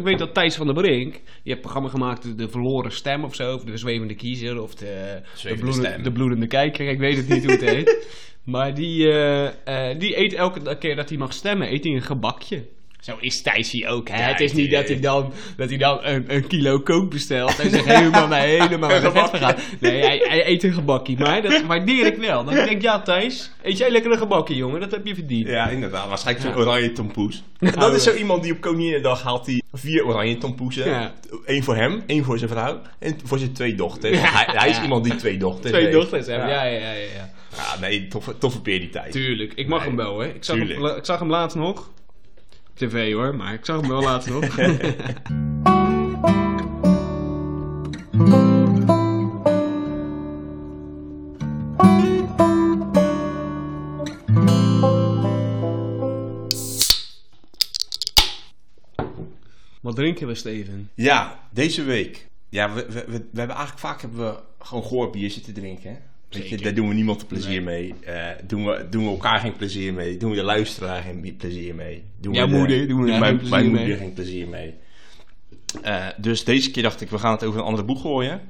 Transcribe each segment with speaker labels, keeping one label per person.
Speaker 1: Ik weet dat Thijs van der Brink, die heeft een programma gemaakt, De Verloren Stem of zo, of De Zwevende Kiezer, of De, de,
Speaker 2: Zwevende
Speaker 1: bloedende,
Speaker 2: Stem.
Speaker 1: de bloedende Kijker, ik weet het niet hoe het heet. Maar die, eh, eh, die eet elke keer dat hij mag stemmen, eet hij een gebakje. Zo is Thijs hier ook, hè? het is niet dat
Speaker 2: eh,
Speaker 1: hij dan, dat hij dan een, een kilo kook bestelt en zegt helemaal naar helemaal naar de vet vergaat. Nee, hij, hij eet een gebakje, maar dat waardeer ik wel. Dan denk ik, ja Thijs, eet jij lekker een gebakje, jongen, dat heb je verdiend.
Speaker 2: Ja, inderdaad. Waarschijnlijk zo'n oranje tompoes.
Speaker 1: Nou,
Speaker 2: Dat is
Speaker 1: ja.
Speaker 2: zo iemand die op Koninginnedag haalt hij vier oranje tompoesen.
Speaker 1: Ja.
Speaker 2: Eén voor hem, één voor zijn vrouw en voor zijn twee dochters.
Speaker 1: Ja.
Speaker 2: Hij, hij is iemand die twee dochters
Speaker 1: Twee
Speaker 2: heeft.
Speaker 1: dochters hebben,
Speaker 2: Ja.
Speaker 1: ja, ja, ja. ja, ja.
Speaker 2: Ja, nee, toffe, toffe peer die tijd.
Speaker 1: Tuurlijk, ik mag
Speaker 2: Nee,
Speaker 1: hem wel, hè. Ik zag hem,
Speaker 2: tuurlijk.
Speaker 1: ik zag hem laatst nog. Op tv hoor, maar ik zag hem wel laatst nog. Wat drinken we, Steven?
Speaker 2: Ja, deze week. Ja, we, we, we, we hebben eigenlijk vaak hebben we gewoon goor bier zitten drinken. hè. Weet je,
Speaker 1: Zeker.
Speaker 2: daar doen we niemand een plezier mee. Eh, doen, we, doen we elkaar geen plezier mee. Doen we de luisteraar geen bi- plezier mee. Doen
Speaker 1: Jouw
Speaker 2: we de-
Speaker 1: moeder, doen we haar
Speaker 2: mijn,
Speaker 1: geen plezier
Speaker 2: mijn
Speaker 1: mee.
Speaker 2: moeder geen plezier mee. Eh, dus deze keer dacht ik, we gaan het over een andere boeg gooien.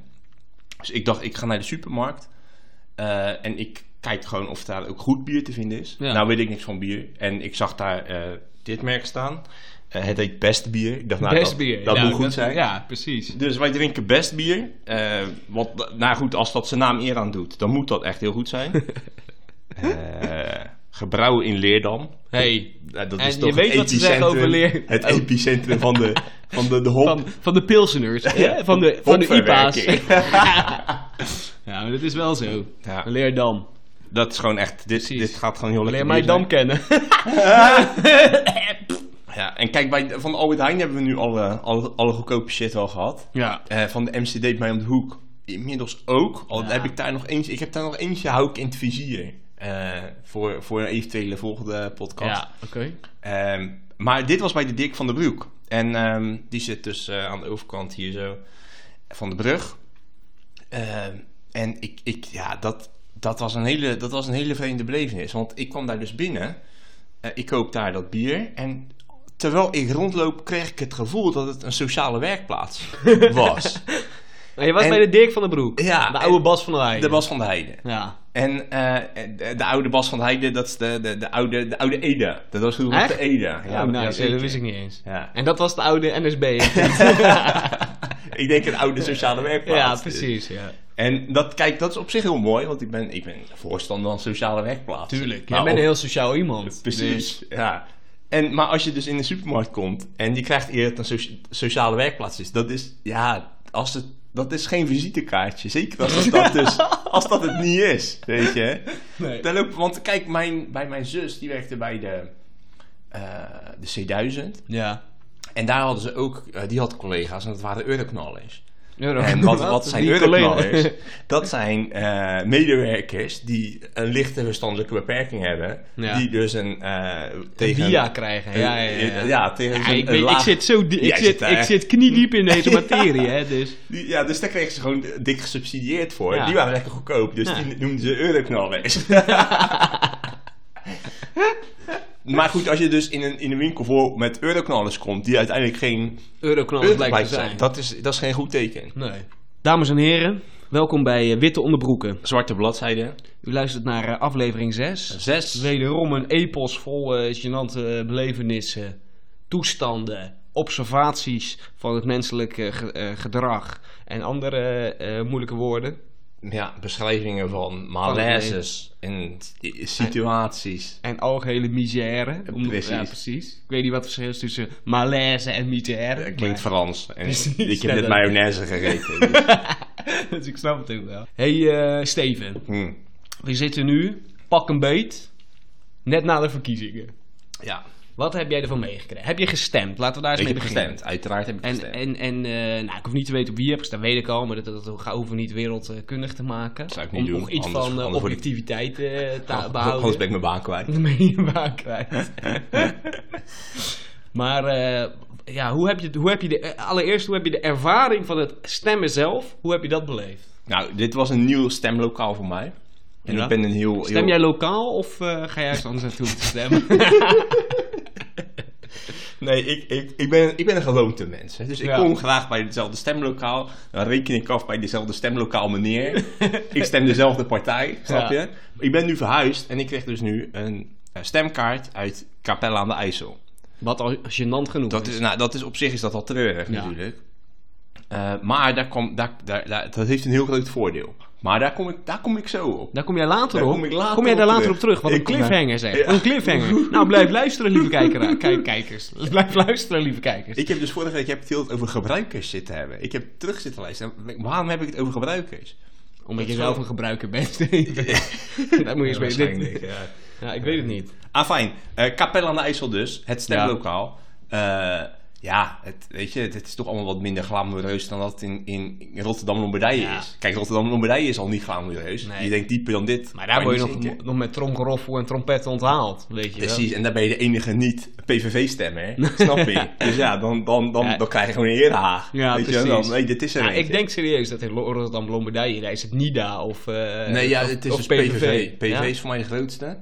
Speaker 2: Dus ik dacht, ik ga naar de supermarkt. eh, en ik kijk gewoon of daar ook goed bier te vinden is.
Speaker 1: Ja.
Speaker 2: Nou weet ik niks van bier. En ik zag daar eh, dit merk staan. Eh, het heet Best Bier. Ik dacht, nou,
Speaker 1: Best
Speaker 2: dat,
Speaker 1: bier.
Speaker 2: Dat
Speaker 1: Ja,
Speaker 2: moet goed zijn.
Speaker 1: Ja, precies.
Speaker 2: Dus wij drinken best bier. Eh, wat, nou goed, als dat zijn naam eer aan doet, dan moet dat echt heel goed zijn. Eh, gebrouwen in Leerdam.
Speaker 1: Hey,
Speaker 2: Nou, dat
Speaker 1: En
Speaker 2: is
Speaker 1: je
Speaker 2: toch
Speaker 1: weet
Speaker 2: het
Speaker 1: wat ze zeggen over
Speaker 2: epicentrum-
Speaker 1: Leer-
Speaker 2: Het
Speaker 1: Oh.
Speaker 2: epicentrum van de, van de, de hop.
Speaker 1: van, van de pilseners, hè? van de, van de IPA's.
Speaker 2: hopverwerking.
Speaker 1: Ja, maar dat is wel zo.
Speaker 2: Ja.
Speaker 1: Leer Dam.
Speaker 2: Dat is gewoon echt, dit,
Speaker 1: Precies.
Speaker 2: dit gaat gewoon heel lekker
Speaker 1: Leer mij
Speaker 2: bier zijn.
Speaker 1: Dam kennen.
Speaker 2: Ja, en kijk, bij, van Albert Heijn hebben we nu alle, alle, alle goedkope shit al gehad.
Speaker 1: ja.
Speaker 2: Eh, van de MCD bij om de hoek. Inmiddels ook. Al heb ik daar nog eentje. Ik heb daar nog eentje hou ik in het vizier. eh, voor, voor een eventuele volgende podcast.
Speaker 1: Ja, oké.
Speaker 2: Ehm, maar dit was bij de Dick van de Broek. En ehm, die zit dus eh, aan de overkant hier zo van de brug. Ehm, en ik, ik ja, dat, dat, was een hele, dat was een hele vreemde belevenis. Want ik kwam daar dus binnen. Eh, ik koop daar dat bier. En terwijl ik rondloop, kreeg ik het gevoel dat het een sociale werkplaats was.
Speaker 1: Maar je was
Speaker 2: En-
Speaker 1: bij de Dirk van den Broek.
Speaker 2: Ja,
Speaker 1: De oude
Speaker 2: en-
Speaker 1: Bas van der Heijden.
Speaker 2: de Bas van de Heide.
Speaker 1: Ja.
Speaker 2: En eh, de, de oude Bas van de Heide, dat is de, de, de, oude, de oude Ede. Dat was hoe
Speaker 1: Echt?
Speaker 2: de Ede. Ja,
Speaker 1: Ja, nou,
Speaker 2: dat-
Speaker 1: nice.
Speaker 2: zeker.
Speaker 1: dat wist ik niet eens.
Speaker 2: Ja.
Speaker 1: En dat was de oude NSB.
Speaker 2: ik denk een oude sociale
Speaker 1: ja,
Speaker 2: werkplaats.
Speaker 1: precies. Ja.
Speaker 2: En dat, kijk, dat is op zich heel mooi, want ik ben, ik ben voorstander van sociale werkplaats.
Speaker 1: Tuurlijk. Jij
Speaker 2: Maar
Speaker 1: bent
Speaker 2: op-
Speaker 1: een heel sociaal iemand. Dus-
Speaker 2: Precies, ja. En, maar als je dus in de supermarkt komt en je krijgt eer dat het een socia- sociale werkplaats is, dat is, ja, als het, dat is geen visitekaartje. Zeker als het dat, dus, als dat het niet is, weet je.
Speaker 1: Nee.
Speaker 2: Daar lopen- want kijk, mijn, bij mijn zus, die werkte bij de, eh, de C1000.
Speaker 1: Ja.
Speaker 2: En daar hadden ze ook, eh, die had collega's en dat waren euroknallers.
Speaker 1: Euro.
Speaker 2: En wat, wat zijn
Speaker 1: Die collega-
Speaker 2: euroknallers? Dat zijn eh, medewerkers die een lichte verstandelijke beperking hebben.
Speaker 1: Ja.
Speaker 2: Die dus een... eh, tegen,
Speaker 1: Via krijgen. Ja, ja, ja.
Speaker 2: eh, tegen
Speaker 1: Ja,
Speaker 2: zo'n-
Speaker 1: ik,
Speaker 2: een
Speaker 1: weet- ik
Speaker 2: laag-
Speaker 1: zit zo die- ik,
Speaker 2: Jij
Speaker 1: zit,
Speaker 2: zit daar.
Speaker 1: ik zit kniediep in deze materie, hè, dus.
Speaker 2: die- ja, dus daar kregen ze gewoon dik gesubsidieerd voor.
Speaker 1: Ja.
Speaker 2: Die waren lekker goedkoop, dus
Speaker 1: Ja.
Speaker 2: die noemden ze euroknallers. maar goed, als je dus in een, in een winkel voor met euroknallers komt... die uiteindelijk geen
Speaker 1: Euroknallers
Speaker 2: euro
Speaker 1: blijkt te
Speaker 2: blijkt
Speaker 1: zijn.
Speaker 2: Dat is, dat is geen goed teken.
Speaker 1: Nee. Dames en heren, welkom bij eh, Witte Onderbroeken.
Speaker 2: Zwarte bladzijde.
Speaker 1: U luistert naar eh, aflevering 6.
Speaker 2: Zes.
Speaker 1: Wederom een epos vol eh gênante eh, belevenissen, toestanden, observaties van het menselijke ge- eh, gedrag en andere eh, eh, moeilijke woorden.
Speaker 2: ja, beschrijvingen van malaises en i- situaties.
Speaker 1: En algehele misère. Om-
Speaker 2: Precies.
Speaker 1: Ja, precies. Ik weet niet wat het verschil is tussen malaise en misère.
Speaker 2: Dat klinkt Frans. En
Speaker 1: Precies,
Speaker 2: ik
Speaker 1: ja,
Speaker 2: heb net
Speaker 1: dat-
Speaker 2: mayonaise gegeten. dus,
Speaker 1: maar- dus ik snap het ook wel. hey, eh, Steven.
Speaker 2: hm.
Speaker 1: We zitten nu, pak een beet, net na de verkiezingen.
Speaker 2: Ja,
Speaker 1: Wat heb jij ervan meegekregen? Heb je gestemd? Laten we daar eens
Speaker 2: ik
Speaker 1: mee
Speaker 2: heb
Speaker 1: beginnen.
Speaker 2: gestemd. Uiteraard heb ik
Speaker 1: En,
Speaker 2: gestemd.
Speaker 1: en, en eh, nou, ik hoef niet te weten op wie je hebt gestemd, weet ik al, maar dat, dat, dat ga- hoeven we niet wereldkundig te maken.
Speaker 2: Zou ik niet
Speaker 1: om
Speaker 2: doen,
Speaker 1: nog iets
Speaker 2: anders-
Speaker 1: van eh,
Speaker 2: anders word ik-
Speaker 1: objectiviteit eh, te
Speaker 2: Anders-
Speaker 1: behouden.
Speaker 2: Anders ben ik mijn baan kwijt.
Speaker 1: Dan ben je je baan kwijt. maar eh, ja, hoe heb je, hoe heb je de, eh, allereerst, hoe heb je de ervaring van het stemmen zelf, hoe heb je dat beleefd?
Speaker 2: nou, dit was een nieuw stemlokaal voor mij. En
Speaker 1: Ja.
Speaker 2: ik ben een heel...
Speaker 1: Stem
Speaker 2: heel-
Speaker 1: jij lokaal of eh, ga jij ergens anders naartoe om te stemmen?
Speaker 2: Nee, ik, ik, ik, ben, ik ben een gewoonte mens. hè. Dus ik
Speaker 1: Ja.
Speaker 2: kom graag bij hetzelfde stemlokaal. Dan reken ik af bij dezelfde stemlokaal meneer. ik stem dezelfde partij, snap
Speaker 1: Ja.
Speaker 2: je? Ik ben nu verhuisd en ik kreeg dus nu een eh, stemkaart uit Capelle aan de IJssel.
Speaker 1: Wat al gênant genoeg
Speaker 2: Dat is, nou, dat is op zich is dat al treurig
Speaker 1: Ja.
Speaker 2: natuurlijk. Eh, maar daar kom, daar, daar, daar- dat heeft een heel groot voordeel. Maar daar kom ik, daar kom ik zo op.
Speaker 1: Daar kom jij later
Speaker 2: Daar
Speaker 1: op.
Speaker 2: kom ik later
Speaker 1: jij daar
Speaker 2: op
Speaker 1: later
Speaker 2: terug.
Speaker 1: op terug? Wat een
Speaker 2: Ik kom
Speaker 1: cliffhanger
Speaker 2: daar-
Speaker 1: zeg.
Speaker 2: Ja.
Speaker 1: Wat een cliffhanger. nou, blijf luisteren, lieve kijkera- kijk- kijkers. Blijf luisteren, lieve kijkers.
Speaker 2: Ik heb dus vorige week heb het heel het over gebruikers zitten hebben. Ik heb terug zitten luisteren. Waarom heb ik het over gebruikers?
Speaker 1: Omdat je
Speaker 2: dat
Speaker 1: zelf
Speaker 2: zal-
Speaker 1: een gebruiker bent. Daar moet je eens mee.
Speaker 2: waarschijnlijk,
Speaker 1: Dit...
Speaker 2: ja.
Speaker 1: Ja, ik weet het niet.
Speaker 2: Ah, fijn. Eh Capelle aan de IJssel dus. Het stemlokaal. Ja, ja het, weet je, het is toch allemaal wat minder glamoureus dan dat het in, in in Rotterdam-Lombardije
Speaker 1: Ja.
Speaker 2: is. Kijk, Rotterdam-Lombardije is al niet glamoureus.
Speaker 1: Nee.
Speaker 2: Je denkt dieper dan dit.
Speaker 1: Maar daar word je
Speaker 2: niet
Speaker 1: nog,
Speaker 2: zinken.
Speaker 1: nog met tromgeroffel en trompet onthaald. Weet je wel.
Speaker 2: Precies, en daar ben je de enige niet-PVV-stemmer. Snap je? Dus ja, dan, dan, dan,
Speaker 1: Ja.
Speaker 2: dan krijg je gewoon een herenhaag.
Speaker 1: Ja,
Speaker 2: weet Je, wel?
Speaker 1: precies.
Speaker 2: dan, nee, dit is er
Speaker 1: Ja,
Speaker 2: eentje.
Speaker 1: Nou, ik denk serieus dat in Lo- Rotterdam Lombardije, daar is het NIDA of, eh,
Speaker 2: Nee, ja,
Speaker 1: of-
Speaker 2: het is
Speaker 1: of
Speaker 2: dus PVV. PVV
Speaker 1: Ja.
Speaker 2: is voor mij de grootste.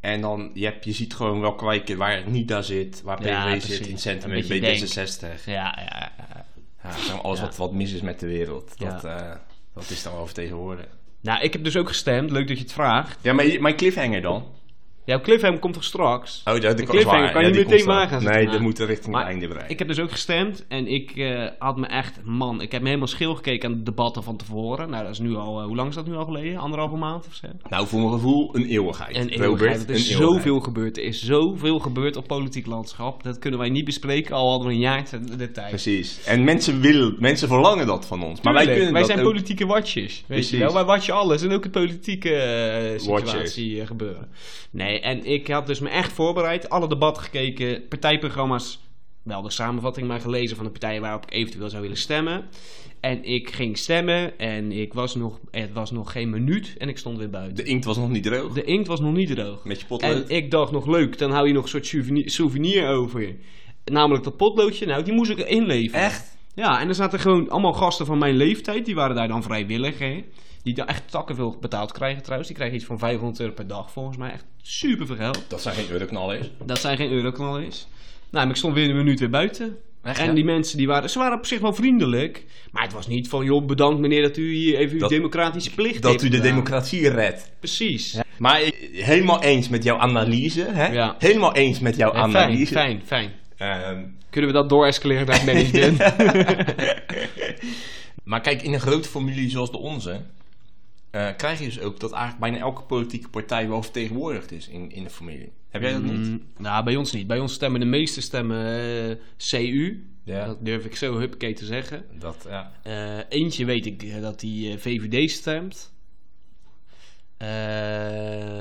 Speaker 2: En dan, je, hebt, je ziet gewoon welke wijken waar Nida zit, waar PVV
Speaker 1: Ja,
Speaker 2: zit, in het
Speaker 1: precies.
Speaker 2: centrum
Speaker 1: Een
Speaker 2: met
Speaker 1: beetje
Speaker 2: B66.
Speaker 1: Ja, ja, ja.
Speaker 2: Ja, zeg maar alles
Speaker 1: Ja.
Speaker 2: wat, wat mis is met de wereld,
Speaker 1: Ja.
Speaker 2: dat, eh, dat is dan wel vertegenwoordigd.
Speaker 1: Nou, ik heb dus ook gestemd. Leuk dat je het vraagt.
Speaker 2: Ja, maar je- mijn cliffhanger dan?
Speaker 1: Jouw cliffhanger komt toch straks?
Speaker 2: Oh, dat, de
Speaker 1: cliffhanger kan je niet meteen maken als het
Speaker 2: eh, Nee,
Speaker 1: gaat.
Speaker 2: dat moet er richting
Speaker 1: Maar
Speaker 2: het einde bereiken.
Speaker 1: Ik heb dus ook gestemd en ik eh, had me echt, man, ik heb me helemaal schil gekeken aan de debatten van tevoren. Nou, dat is nu al, eh, hoe lang is dat nu al geleden? Anderhalve maand of zo?
Speaker 2: Nou, voor mijn gevoel een eeuwigheid.
Speaker 1: En
Speaker 2: Robert,
Speaker 1: eeuwigheid, er is
Speaker 2: een eeuwigheid.
Speaker 1: zoveel gebeurd. Er is zoveel gebeurd op politiek landschap. Dat kunnen wij niet bespreken, al hadden we een jaar te- de tijd.
Speaker 2: Precies. En mensen willen, mensen verlangen dat van ons. Maar wij
Speaker 1: Tuurlijk,
Speaker 2: kunnen dat
Speaker 1: zijn
Speaker 2: ook-
Speaker 1: politieke watchers. Weet
Speaker 2: Precies.
Speaker 1: je wel, wij watchen alles. En ook het politieke eh, situatie
Speaker 2: Watchers.
Speaker 1: eh, gebeuren. Nee, en ik had dus me echt voorbereid. Alle debatten gekeken, partijprogramma's. Wel de samenvatting maar gelezen van de partijen waarop ik eventueel zou willen stemmen. En ik ging stemmen en ik was nog, het was nog geen minuut en ik stond weer buiten.
Speaker 2: De inkt was nog niet droog.
Speaker 1: De inkt was nog niet droog.
Speaker 2: Met je potlood.
Speaker 1: En ik dacht nog leuk, dan hou je nog een soort souvenir, souvenir over. Namelijk dat potloodje, nou die moest ik inleveren.
Speaker 2: Echt?
Speaker 1: Ja, en er zaten gewoon allemaal gasten van mijn leeftijd, die waren daar dan vrijwillig. Hè? Die daar echt takken veel betaald krijgen trouwens. Die krijgen iets van 500 euro per dag volgens mij. Echt super veel geld.
Speaker 2: Dat zijn geen euroknallers.
Speaker 1: Dat zijn geen euroknallers. Nou, maar ik stond weer een minuut weer buiten.
Speaker 2: Echt,
Speaker 1: en
Speaker 2: hè?
Speaker 1: die mensen die waren, ze waren op zich wel vriendelijk. Maar het was niet van, joh, bedankt meneer dat u hier even uw
Speaker 2: Dat-
Speaker 1: democratische plicht
Speaker 2: Dat
Speaker 1: heeft
Speaker 2: u de
Speaker 1: gedaan.
Speaker 2: democratie redt.
Speaker 1: Precies.
Speaker 2: Maar ik, helemaal eens met jouw analyse. Hè?
Speaker 1: Ja.
Speaker 2: Helemaal eens met jouw
Speaker 1: Eh, fijn,
Speaker 2: analyse.
Speaker 1: fijn, fijn.
Speaker 2: Ehm,
Speaker 1: Kunnen we dat doorescaleren naar het management?
Speaker 2: maar kijk, in een grote familie zoals de onze... eh, krijg je dus ook dat eigenlijk bijna elke politieke partij wel vertegenwoordigd is in, in de familie. Heb jij dat niet?
Speaker 1: Mm, nou, bij ons niet. Bij ons stemmen de meeste stemmen eh, CU.
Speaker 2: Ja.
Speaker 1: Dat durf ik zo huppakee te zeggen.
Speaker 2: Dat, ja.
Speaker 1: Eh, eentje weet ik eh, dat die eh, VVD stemt. Eh,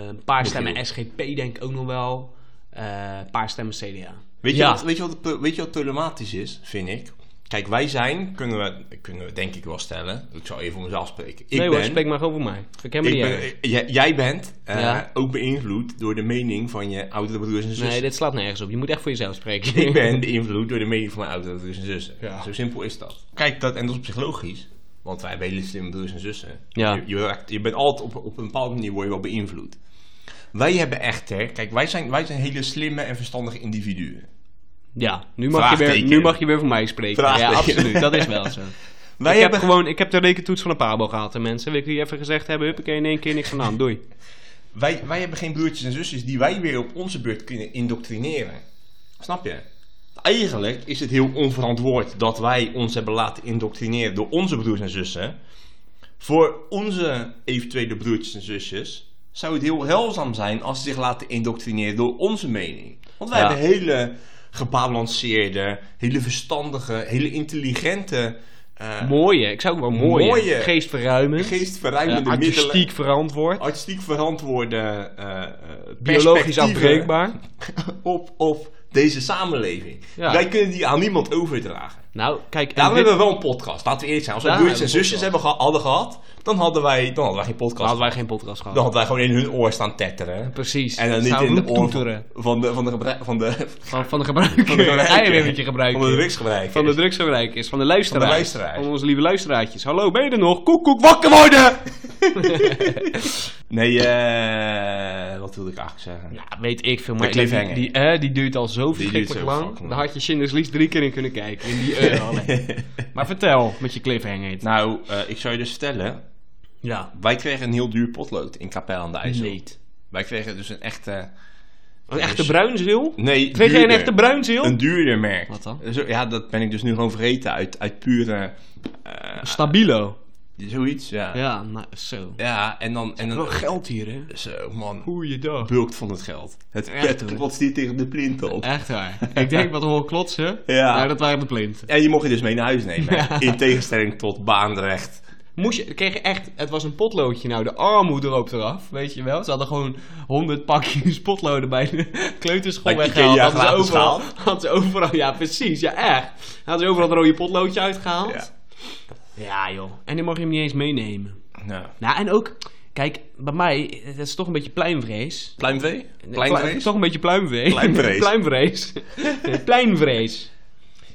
Speaker 1: een paar
Speaker 2: Michiel.
Speaker 1: stemmen SGP denk ik ook nog wel. Eh, een paar stemmen CDA.
Speaker 2: Weet,
Speaker 1: Ja.
Speaker 2: je wat, weet, je wat, het pro- weet je wat problematisch is, vind ik? Kijk, wij zijn, kunnen we, kunnen we denk ik wel stellen. Ik zal even om mezelf spreken. Ik
Speaker 1: nee
Speaker 2: ben,
Speaker 1: hoor, spreek maar gewoon voor mij. Ik heb me
Speaker 2: ik
Speaker 1: niet
Speaker 2: ben-
Speaker 1: erg.
Speaker 2: eh, jij, jij bent eh,
Speaker 1: Ja.
Speaker 2: ook beïnvloed door de mening van je oudere broers en zussen.
Speaker 1: Nee, dit slaat nergens op. Je moet echt voor jezelf spreken.
Speaker 2: Ik ben beïnvloed door de mening van mijn oudere broers en zussen.
Speaker 1: Ja.
Speaker 2: Zo simpel is dat. Kijk, dat, en dat is op zich logisch. Want wij hebben hele slimme broers en zussen.
Speaker 1: Ja.
Speaker 2: Je, je, raakt- je bent altijd op, op een bepaalde manier word je wel beïnvloed. Wij hebben echter... Kijk, wij zijn, wij zijn hele slimme en verstandige individuen.
Speaker 1: Ja, nu mag, je weer,
Speaker 2: Vraagteken.
Speaker 1: nu mag je weer voor mij spreken. Ja,
Speaker 2: Vraagteken.
Speaker 1: absoluut. Dat is wel zo.
Speaker 2: Wij
Speaker 1: ik,
Speaker 2: hebben,
Speaker 1: heb gewoon, ik heb de rekentoets van de Pabo gehad, hè, mensen. Wil ik die even gezegd hebben? Huppakee, in één keer niks van aan. Doei.
Speaker 2: wij, wij hebben geen broertjes en zusjes die wij weer op onze beurt kunnen indoctrineren. Snap je? Eigenlijk is het heel onverantwoord dat wij ons hebben laten indoctrineren door onze broers en zussen. Voor onze eventuele broertjes en zusjes zou het heel helzaam zijn als ze zich laten indoctrineren door onze mening. Want wij
Speaker 1: Ja.
Speaker 2: hebben hele gebalanceerde, hele verstandige, hele intelligente, eh
Speaker 1: Mooie. Ik zou ook wel mooie.
Speaker 2: Mooie.
Speaker 1: Geestverruimend.
Speaker 2: geestverruimende
Speaker 1: eh,
Speaker 2: middelen.
Speaker 1: artistiek verantwoord.
Speaker 2: Artistiek verantwoorde eh, eh,
Speaker 1: Biologisch
Speaker 2: perspectieven
Speaker 1: afbreekbaar.
Speaker 2: op, op deze samenleving.
Speaker 1: Ja.
Speaker 2: Wij kunnen die aan niemand overdragen.
Speaker 1: Nou, kijk. en
Speaker 2: Daarom
Speaker 1: dit-
Speaker 2: hebben we wel een podcast. Laten we eerlijk zijn. Als we
Speaker 1: Ja,
Speaker 2: broertjes en
Speaker 1: hebben we
Speaker 2: zusjes hebben geha- hadden gehad, dan hadden, wij, dan hadden wij geen podcast.
Speaker 1: Dan hadden wij geen podcast gehad.
Speaker 2: Dan hadden wij gewoon in hun oor staan tetteren.
Speaker 1: Nou. Precies.
Speaker 2: En dan
Speaker 1: Het
Speaker 2: niet
Speaker 1: zou
Speaker 2: in de
Speaker 1: roep
Speaker 2: oor van,
Speaker 1: toeteren.
Speaker 2: van de, van de, gebruik- van de,
Speaker 1: Van, van de gebruiker. Van
Speaker 2: van de
Speaker 1: de gebruiker.
Speaker 2: Van de drugsgebruiker.
Speaker 1: Van de drugsgebruikers. Van de luisteraars.
Speaker 2: Van de luisteraars.
Speaker 1: Van onze lieve luisteraartjes. Hallo, ben je er nog? Koek, koek, wakker worden!
Speaker 2: Nee, eh... wat geld, wilde ik eigenlijk zeggen.
Speaker 1: Ja, weet ik veel. Maar die,
Speaker 2: cliffhanger.
Speaker 1: die, eh, die duurt al zo
Speaker 2: duurt
Speaker 1: verschrikkelijk
Speaker 2: zo
Speaker 1: lang.
Speaker 2: fucking
Speaker 1: Daar
Speaker 2: lang.
Speaker 1: had je Schindler's List drie keer in kunnen kijken. In die euro alleen. Maar vertel, met je cliffhanger.
Speaker 2: Nou, eh, ik zou je dus vertellen.
Speaker 1: ja.
Speaker 2: Wij kregen een heel duur potlood in Capelle aan de IJssel.
Speaker 1: Niet.
Speaker 2: Wij kregen dus een echte... dus-
Speaker 1: Een echte bruinzeel?
Speaker 2: Nee,
Speaker 1: Kreeg je een
Speaker 2: duurder.
Speaker 1: echte bruinzeel?
Speaker 2: Een duurder merk.
Speaker 1: Wat dan?
Speaker 2: Zo, ja, dat ben ik dus nu gewoon vergeten uit, uit pure... eh,
Speaker 1: Stabilo.
Speaker 2: zoiets, ja. Ja,
Speaker 1: Ja, nou, zo.
Speaker 2: en dan... En
Speaker 1: Wel
Speaker 2: dan
Speaker 1: geld hier, hè?
Speaker 2: zo, man.
Speaker 1: Goeiedag.
Speaker 2: Bulkt van het geld. Het
Speaker 1: Echt,
Speaker 2: pet
Speaker 1: hoor.
Speaker 2: klotst hier tegen de plinten op.
Speaker 1: Echt waar. ik denk wat we horen klotsen.
Speaker 2: Ja.
Speaker 1: Maar dat waren de plinten.
Speaker 2: En je mocht je dus mee naar huis nemen. hè. In tegenstelling tot baanrecht.
Speaker 1: Moest je, kreeg je echt, het was een potloodje nou, de armoede rook eraf, weet je wel. Ze hadden gewoon honderd pakjes potloden bij de kleuterschool
Speaker 2: Bij
Speaker 1: weggehaald.
Speaker 2: Ikea
Speaker 1: Hadden ze,
Speaker 2: glazen
Speaker 1: overal,
Speaker 2: schaal.
Speaker 1: hadden ze overal, ja precies, ja echt. Hadden ze overal het rode potloodje uitgehaald.
Speaker 2: Ja.
Speaker 1: Ja. joh, en die mag je hem niet eens meenemen.
Speaker 2: Nou.
Speaker 1: Nou en ook, kijk, bij mij, het is toch een beetje pluimvrees.
Speaker 2: Pluimvee?
Speaker 1: Pla-
Speaker 2: Pluimvee?
Speaker 1: Toch een beetje pluimvee.
Speaker 2: Pluimvrees.
Speaker 1: Pluimvrees. Nee, Pleinvrees.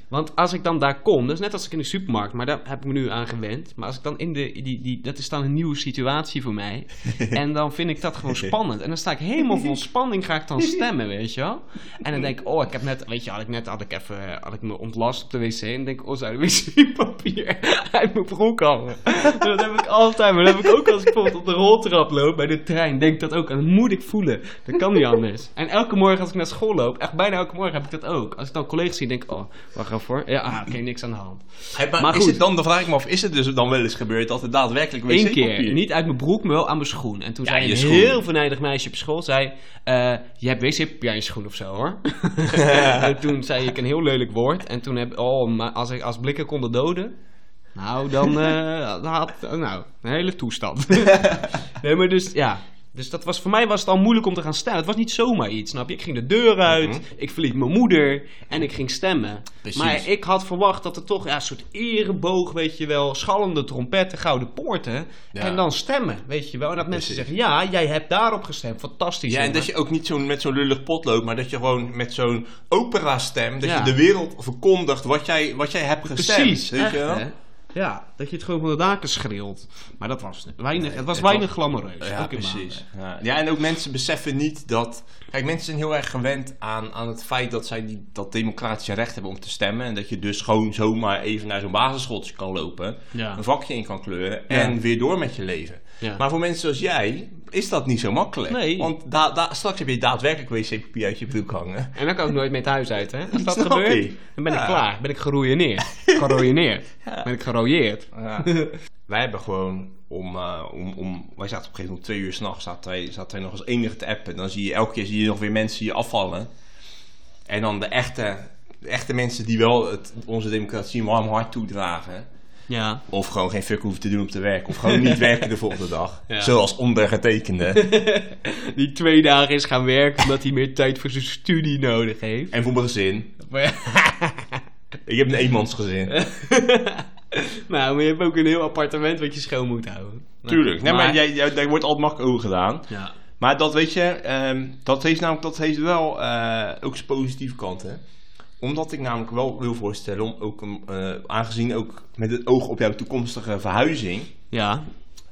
Speaker 1: Want als ik dan daar kom, dat is net als ik in de supermarkt, maar daar heb ik me nu aan gewend. Maar als ik dan in de, die, die, dat is dan een nieuwe situatie voor mij. En dan vind ik dat gewoon spannend. En dan sta ik helemaal vol spanning, ga ik dan stemmen, weet je wel. En dan denk ik, oh, ik heb net, weet je, had ik net, had ik even, had ik me ontlast op de wc. En dan denk ik, oh, zou de wc-papier uit mijn broek hangen. Dat heb ik altijd, maar dat heb ik ook als ik bijvoorbeeld op de roltrap loop bij de trein. Denk ik dat ook, en dat moet ik voelen. Dat kan niet anders. En elke morgen als ik naar school loop, echt bijna elke morgen heb ik dat ook. Als ik dan collega's zie, denk ik, oh, wacht even hoor. Ja, ah, oké, niks aan de hand.
Speaker 2: maar
Speaker 1: Maar
Speaker 2: is
Speaker 1: goed.
Speaker 2: het dan, dan vraag ik me af, is het dus dan wel eens gebeurd dat er daadwerkelijk wc-papier...
Speaker 1: Eén keer. Niet uit mijn broek, maar wel aan mijn schoen. En toen
Speaker 2: Ja,
Speaker 1: zei een
Speaker 2: je schoen.
Speaker 1: heel verneidig meisje op school, zei... eh, je hebt wc-papier in je schoen of zo, hoor. en toen zei ik een heel lelijk woord. En toen heb Oh, maar als, ik, als blikken konden doden... Nou, dan eh, dan had... nou, een hele toestand. nee, maar dus, ja... Dus dat was, voor mij was het al moeilijk om te gaan stemmen. Het was niet zomaar iets, snap je? Ik ging de deur uit,
Speaker 2: Mhm.
Speaker 1: ik verliet mijn moeder en ik ging stemmen.
Speaker 2: Precies.
Speaker 1: Maar ik had verwacht dat er toch ja, een soort ereboog, weet je wel, schallende trompetten, gouden poorten.
Speaker 2: Ja.
Speaker 1: En dan stemmen, weet je wel. En dat mensen zeggen,
Speaker 2: Precies.
Speaker 1: ja, jij hebt daarop gestemd. Fantastisch.
Speaker 2: Ja, en
Speaker 1: jongen.
Speaker 2: dat je ook niet zo'n met zo'n lullig potlood, maar dat je gewoon met zo'n opera-stem, dat
Speaker 1: Ja.
Speaker 2: je de wereld verkondigt wat jij, wat jij hebt gestemd.
Speaker 1: Precies,
Speaker 2: weet
Speaker 1: echt,
Speaker 2: je wel?
Speaker 1: hè? Ja, dat je het gewoon van de daken schreeuwt. Maar dat was weinig, het was
Speaker 2: het
Speaker 1: weinig glamoureus.
Speaker 2: Ja,
Speaker 1: ook in
Speaker 2: precies.
Speaker 1: Maandag.
Speaker 2: Ja. ja, en ook mensen beseffen niet dat... Kijk, mensen zijn heel erg gewend aan, aan het feit dat zij die, dat democratische recht hebben om te stemmen. En dat je dus gewoon zomaar even naar zo'n basisschooltje kan lopen.
Speaker 1: Ja.
Speaker 2: Een vakje in kan kleuren en
Speaker 1: Ja.
Speaker 2: weer door met je leven.
Speaker 1: Ja.
Speaker 2: Maar voor mensen zoals jij is dat niet zo makkelijk.
Speaker 1: Nee.
Speaker 2: Want da- da- straks heb je daadwerkelijk wc-papier uit je broek hangen.
Speaker 1: En dan kan ik nooit mee het huis uit, hè. Als dat
Speaker 2: Snap
Speaker 1: gebeurt,
Speaker 2: ik.
Speaker 1: dan ben ik
Speaker 2: Ja.
Speaker 1: klaar. Ben ik geroïneerd. Geroïneerd. Ben ik gerooieerd.
Speaker 2: wij hebben gewoon om, eh, om, om... Wij zaten op een gegeven moment om twee uur s'nachts. Zaten wij, zaten wij nog als enige te appen. Dan zie je elke keer zie je nog weer mensen hier afvallen. En dan de echte, de echte mensen die wel het, onze democratie een warm hart toedragen.
Speaker 1: Ja.
Speaker 2: Of gewoon geen fuck hoeven te doen op te werk. Of gewoon niet werken de volgende dag.
Speaker 1: Ja.
Speaker 2: Zoals ondergetekende.
Speaker 1: Die twee dagen is gaan werken omdat hij meer tijd voor zijn studie nodig heeft.
Speaker 2: en voor mijn gezin.
Speaker 1: Maar-
Speaker 2: Ik heb een eenmansgezin.
Speaker 1: nou, maar je hebt ook een heel appartement wat je schoon moet houden.
Speaker 2: Tuurlijk. Nee, maar, jij, jij, daar wordt altijd makkelijk over gedaan.
Speaker 1: Ja.
Speaker 2: Maar dat weet je, ehm, dat heeft namelijk dat heeft wel eh, ook zijn positieve kanten. Omdat ik namelijk wel wil voorstellen, om ook, een, eh, aangezien ook met het oog op jouw toekomstige verhuizing,
Speaker 1: Ja.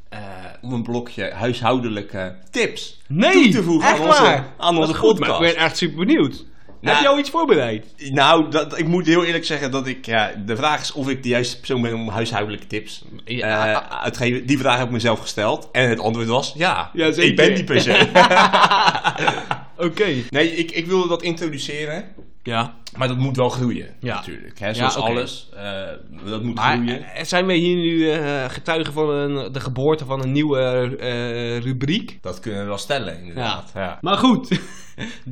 Speaker 2: eh, om een blokje huishoudelijke tips
Speaker 1: Nee!
Speaker 2: toe te voegen
Speaker 1: echt
Speaker 2: aan onze,
Speaker 1: waar?
Speaker 2: aan
Speaker 1: Dat
Speaker 2: onze
Speaker 1: is goed, maar
Speaker 2: podcast.
Speaker 1: ik ben echt super benieuwd.
Speaker 2: Nou,
Speaker 1: Heb jij al iets voorbereid?
Speaker 2: Nou, dat, ik moet heel eerlijk zeggen dat ik, ja, de vraag is of ik de juiste persoon ben om huishoudelijke tips eh
Speaker 1: Ja.
Speaker 2: uit te geven. Die vraag heb ik mezelf gesteld en het antwoord was ja,
Speaker 1: Ja, zeker.
Speaker 2: ik ben die persoon.
Speaker 1: Oké.
Speaker 2: nee, ik, ik wilde dat introduceren.
Speaker 1: Ja.
Speaker 2: Maar dat moet wel groeien,
Speaker 1: Ja.
Speaker 2: natuurlijk. Hè? Zoals
Speaker 1: Ja, oké.
Speaker 2: alles, eh, dat moet
Speaker 1: Maar
Speaker 2: groeien.
Speaker 1: eh, zijn wij hier nu eh, getuigen van een, de geboorte van een nieuwe eh, rubriek?
Speaker 2: Dat kunnen we wel stellen, inderdaad. Ja. Ja.
Speaker 1: Maar goed,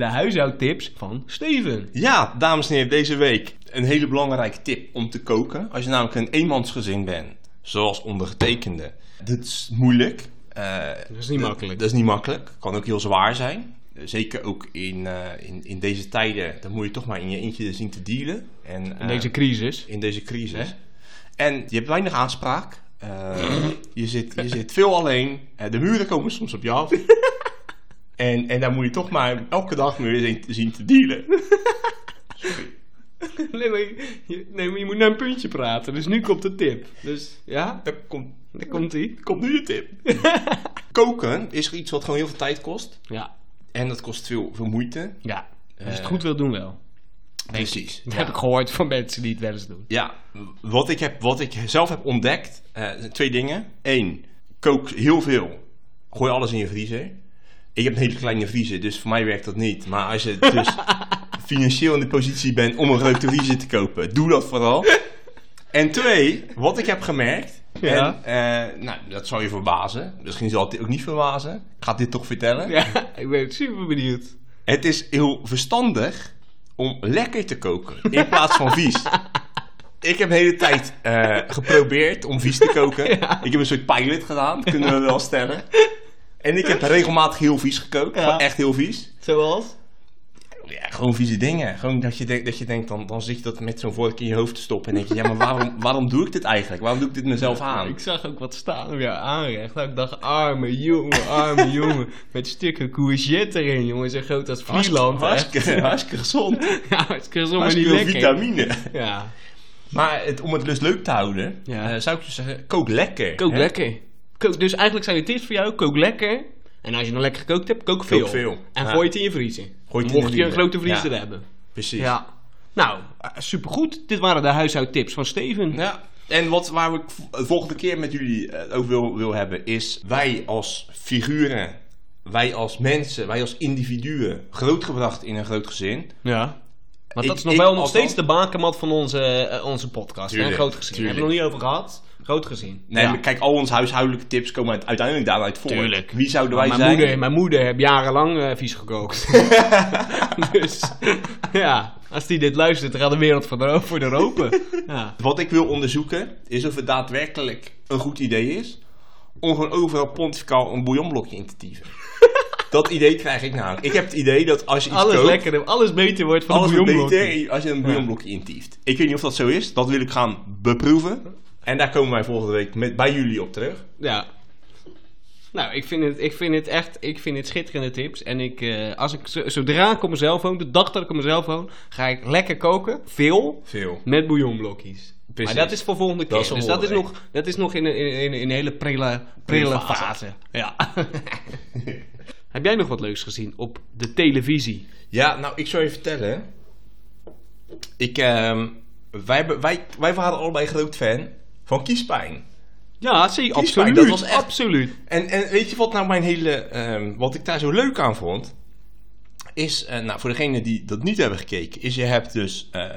Speaker 1: de huishoudtips van Steven.
Speaker 2: dames en heren, deze week een hele belangrijke tip om te koken. Als je namelijk een eenmansgezin bent, zoals ondergetekende. Dat is moeilijk. Eh,
Speaker 1: Dat is niet makkelijk.
Speaker 2: Dat is niet makkelijk. Kan ook heel zwaar zijn. Zeker ook in, eh, in, in deze tijden, dan moet je toch maar in je eentje zien te dealen. En, eh,
Speaker 1: In deze crisis.
Speaker 2: in deze crisis. En je hebt weinig aanspraak. Eh, je, zit, je zit veel alleen. Eh, de muren komen soms op je af. en, en daar moet je toch maar elke dag mee weer zien- zien te dealen.
Speaker 1: Nee maar, je, nee, maar je moet naar een puntje praten. Dus nu komt de tip. Dus ja,
Speaker 2: Daar komt,
Speaker 1: daar komt ie.
Speaker 2: komt nu je tip. Koken is iets wat gewoon heel veel tijd kost.
Speaker 1: Ja.
Speaker 2: En dat kost veel, veel moeite.
Speaker 1: Ja, als je het
Speaker 2: Eh,
Speaker 1: goed wil doen wel.
Speaker 2: Precies.
Speaker 1: Dat
Speaker 2: Ja.
Speaker 1: heb ik gehoord van mensen die het wel eens doen.
Speaker 2: Ja, wat ik, heb, wat ik zelf heb ontdekt, eh, zijn twee dingen. Eén, kook heel veel. Gooi alles in je vriezer. Ik heb een hele kleine vriezer, dus voor mij werkt dat niet. Maar als je dus financieel in de positie bent om een grote vriezer te kopen, doe dat vooral. En twee, wat ik heb gemerkt,
Speaker 1: Ja.
Speaker 2: en, eh, nou, dat zou je verbazen. Misschien zal het je ook niet verbazen. Ik ga dit toch vertellen.
Speaker 1: Ja, ik ben super benieuwd.
Speaker 2: Het is heel verstandig om lekker te koken in plaats van vies. Ik heb de hele tijd eh, geprobeerd om vies te koken. Ik heb een soort pilot gedaan, kunnen we wel stellen. En ik heb regelmatig heel vies gekookt,
Speaker 1: Ja.
Speaker 2: gewoon echt heel vies.
Speaker 1: Zoals?
Speaker 2: Ja, gewoon vieze dingen. Gewoon dat je, denkt- dat je denkt, dan, dan zit je dat met zo'n vork in je hoofd te stoppen. En denk je, ja, maar waarom, waarom doe ik dit eigenlijk? Waarom doe ik dit mezelf aan?
Speaker 1: Ik zag ook wat staan op jouw aanrecht. Nou, Ik dacht, arme jongen, arme jongen. Met stukken courgette erin, jongen. Zo groot als Friesland. hè.
Speaker 2: Hartstikke, hartstikke gezond.
Speaker 1: Ja, maar het is helemaal niet
Speaker 2: Hartstikke veel
Speaker 1: lekker.
Speaker 2: vitamine.
Speaker 1: Ja.
Speaker 2: Maar het, om het dus leuk te houden,
Speaker 1: Ja.
Speaker 2: eh, zou ik dus zeggen, kook lekker.
Speaker 1: Kook
Speaker 2: hè?
Speaker 1: lekker. Kook, dus eigenlijk zijn de tips voor jou, kook lekker. En als je dan lekker gekookt hebt, kook veel.
Speaker 2: Kook veel.
Speaker 1: En
Speaker 2: Ja.
Speaker 1: gooi het in je vriezer.
Speaker 2: Gooi het in
Speaker 1: Mocht
Speaker 2: de
Speaker 1: je een
Speaker 2: vriezer.
Speaker 1: grote vriezer
Speaker 2: Ja.
Speaker 1: hebben.
Speaker 2: Precies.
Speaker 1: Ja. Nou, eh, supergoed. Dit waren de huishoudtips van Steven.
Speaker 2: Ja. En wat waar ik v- volgende keer met jullie eh, over wil, wil hebben is wij als figuren, wij als mensen, wij als individuen grootgebracht in een groot gezin.
Speaker 1: Ja. Maar
Speaker 2: Ik-
Speaker 1: dat is nog
Speaker 2: ik
Speaker 1: wel nog
Speaker 2: althans-
Speaker 1: steeds de bakermat van onze, eh, onze podcast. hè?
Speaker 2: Tuurlijk,
Speaker 1: Groot gezien. Daar hebben we het nog niet over gehad. Groot gezien.
Speaker 2: Nee,
Speaker 1: Ja.
Speaker 2: maar kijk, al onze huishoudelijke tips komen uit- uiteindelijk daaruit voort.
Speaker 1: Tuurlijk.
Speaker 2: Wie zouden wij
Speaker 1: Maar mijn,
Speaker 2: zijn?
Speaker 1: moeder, mijn moeder heeft jarenlang eh, vies gekookt. dus ja, als die dit luistert, dan gaat de wereld voor de, voor de open. Ja.
Speaker 2: Wat ik wil onderzoeken is of het daadwerkelijk een goed idee is om gewoon overal pontificaal een bouillonblokje in te dieven. dat idee krijg ik nou. Ik heb het idee dat als je iets
Speaker 1: Alles
Speaker 2: koopt,
Speaker 1: lekkerder, alles beter wordt van
Speaker 2: Alles
Speaker 1: de bouillon.
Speaker 2: beter als je een bouillonblokje intieft. Ik weet niet of dat zo is. Dat wil ik gaan beproeven. En daar komen wij volgende week met, bij jullie op terug.
Speaker 1: Ja. Nou, ik vind het, ik vind het echt ik vind het schitterende tips. En ik, eh, als ik, zo- zodra ik op mijn cel woon, de dag dat ik op mijn cel woon, ga ik lekker koken. Veel.
Speaker 2: Veel.
Speaker 1: Met bouillonblokjes.
Speaker 2: Precies.
Speaker 1: Maar dat is voor volgende keer.
Speaker 2: Dat is voor
Speaker 1: dus dat is,
Speaker 2: volgende
Speaker 1: nog, dat is nog in een, in, een- in een hele prille, prille
Speaker 2: Prille
Speaker 1: fase.
Speaker 2: fase.
Speaker 1: Ja. Heb jij nog wat leuks gezien op de televisie?
Speaker 2: Ja, nou, ik zou je vertellen. Ik, ehm, wij, hebben- wij, wij waren allebei groot fan van kiespijn.
Speaker 1: Ja, zie,
Speaker 2: Kiespijn,
Speaker 1: absoluut.
Speaker 2: dat was echt-
Speaker 1: Absoluut.
Speaker 2: En, en weet je wat nou mijn hele... ehm, wat ik daar zo leuk aan vond? Is, eh, nou, voor degene die dat niet hebben gekeken... is je hebt dus eh,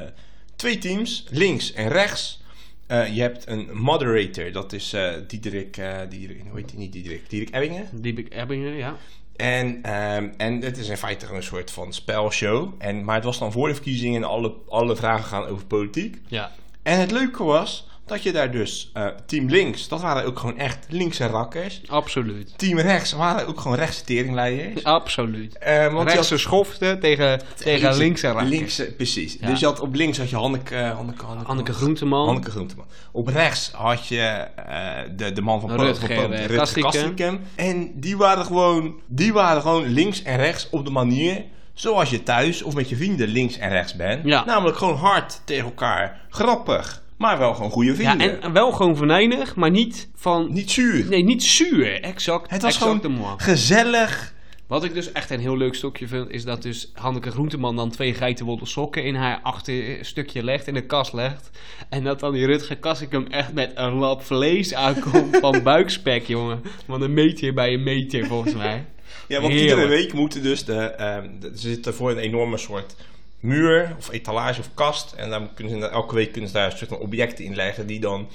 Speaker 2: twee teams, links en rechts. Eh, je hebt een moderator, dat is eh Diederik, eh, Diederik... Hoe heet die niet? Diederik, Diederik Ebbingen.
Speaker 1: Die Ebbingen, ja.
Speaker 2: En, ehm, en het is in feite gewoon een soort van spelshow. En, maar het was dan voor de verkiezingen en alle, alle vragen gaan over politiek.
Speaker 1: Ja.
Speaker 2: En het leuke was dat je daar dus... eh, team links, dat waren ook gewoon echt linkse rakkers.
Speaker 1: Absoluut.
Speaker 2: Team rechts waren ook gewoon rechtse teringleiders.
Speaker 1: Absoluut.
Speaker 2: Eh, want je
Speaker 1: Rechtse
Speaker 2: had-
Speaker 1: schoften tegen, tegen linkse rakkers.
Speaker 2: Linkse, precies.
Speaker 1: Ja.
Speaker 2: Dus je had op links had je Hanneke, eh, Hanneke, Hanneke,
Speaker 1: Anneke Groenteman.
Speaker 2: Hanneke Groenteman. Op rechts had je eh, de, de man van Pro-
Speaker 1: Rutger,
Speaker 2: van Pro-
Speaker 1: eh,
Speaker 2: Rutger
Speaker 1: Kastrikum.
Speaker 2: Kastrikum. En die waren, gewoon, die waren gewoon links en rechts op de manier zoals je thuis of met je vrienden links en rechts bent.
Speaker 1: Ja.
Speaker 2: Namelijk gewoon hard tegen elkaar. Grappig, maar wel gewoon goede
Speaker 1: Ja,
Speaker 2: vrienden.
Speaker 1: en en wel gewoon venijnig, maar niet van...
Speaker 2: Niet zuur.
Speaker 1: Nee, niet zuur. Exact.
Speaker 2: Het was
Speaker 1: exact de
Speaker 2: gewoon
Speaker 1: moa.
Speaker 2: gezellig.
Speaker 1: Wat ik dus echt een heel leuk stokje vind, is dat dus Hanneke Groenteman dan twee geitenwolle sokken in haar achterstukje legt, in de kast legt. En dat dan die Rutger Kassikum echt met een lap vlees aankomt van buikspek, jongen. Van een meter bij een meter, volgens mij.
Speaker 2: Ja, want
Speaker 1: Heerlijk.
Speaker 2: iedere week moeten dus de, ehm, de- ze zitten voor een enorme soort muur of etalage of kast. En dan kunnen ze, elke week kunnen ze daar een soort van objecten in leggen die dan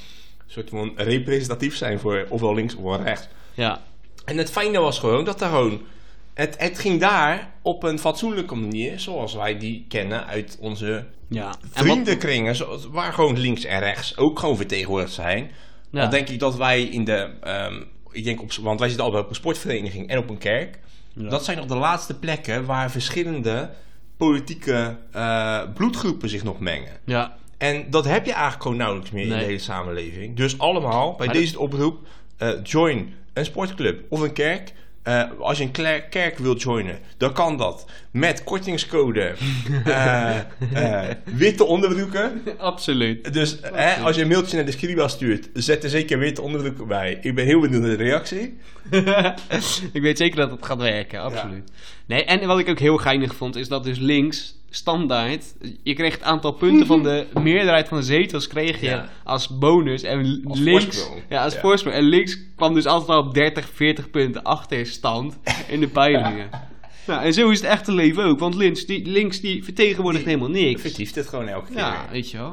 Speaker 2: soort van representatief zijn voor ofwel links ofwel rechts.
Speaker 1: Ja,
Speaker 2: En het fijne was gewoon dat daar gewoon. Het, het ging daar op een fatsoenlijke manier, zoals wij die kennen uit onze
Speaker 1: ja. En wat-
Speaker 2: vriendenkringen, zoals- waar gewoon links en rechts ook gewoon vertegenwoordigd zijn.
Speaker 1: ja.
Speaker 2: Dan denk ik dat wij in de. ehm, ik denk op, want wij zitten allebei op een sportvereniging en op een kerk.
Speaker 1: Ja.
Speaker 2: Dat zijn nog de laatste plekken waar verschillende politieke eh, bloedgroepen zich nog mengen.
Speaker 1: Ja,
Speaker 2: En dat heb je eigenlijk gewoon nauwelijks meer in
Speaker 1: Nee.
Speaker 2: de hele samenleving. Dus allemaal, bij
Speaker 1: Maar
Speaker 2: deze oproep, eh, join een sportclub of een kerk. Eh, als je een kle- kerk wilt joinen, dan kan dat met kortingscode eh, eh, witte onderbroeken.
Speaker 1: absoluut.
Speaker 2: Dus hè, als je een mailtje naar de Skriba stuurt, zet er zeker witte onderbroeken bij. Ik ben heel benieuwd naar de reactie.
Speaker 1: ik weet zeker dat het gaat werken, absoluut. Nee, en wat ik ook heel geinig vond, is dat dus links, standaard, je kreeg het aantal punten van de meerderheid van de zetels kreeg je
Speaker 2: Ja.
Speaker 1: als bonus. En
Speaker 2: Als
Speaker 1: links,
Speaker 2: voorsprong.
Speaker 1: Ja, als
Speaker 2: Ja.
Speaker 1: voorsprong. En links kwam dus altijd al op 30, 40 punten achterstand in de peilingen. Nou, en zo is het echte leven ook, want links die, links, die vertegenwoordigt
Speaker 2: Die
Speaker 1: helemaal niks.
Speaker 2: Vertieft het gewoon elke keer.
Speaker 1: Ja,
Speaker 2: weer.
Speaker 1: weet je wel.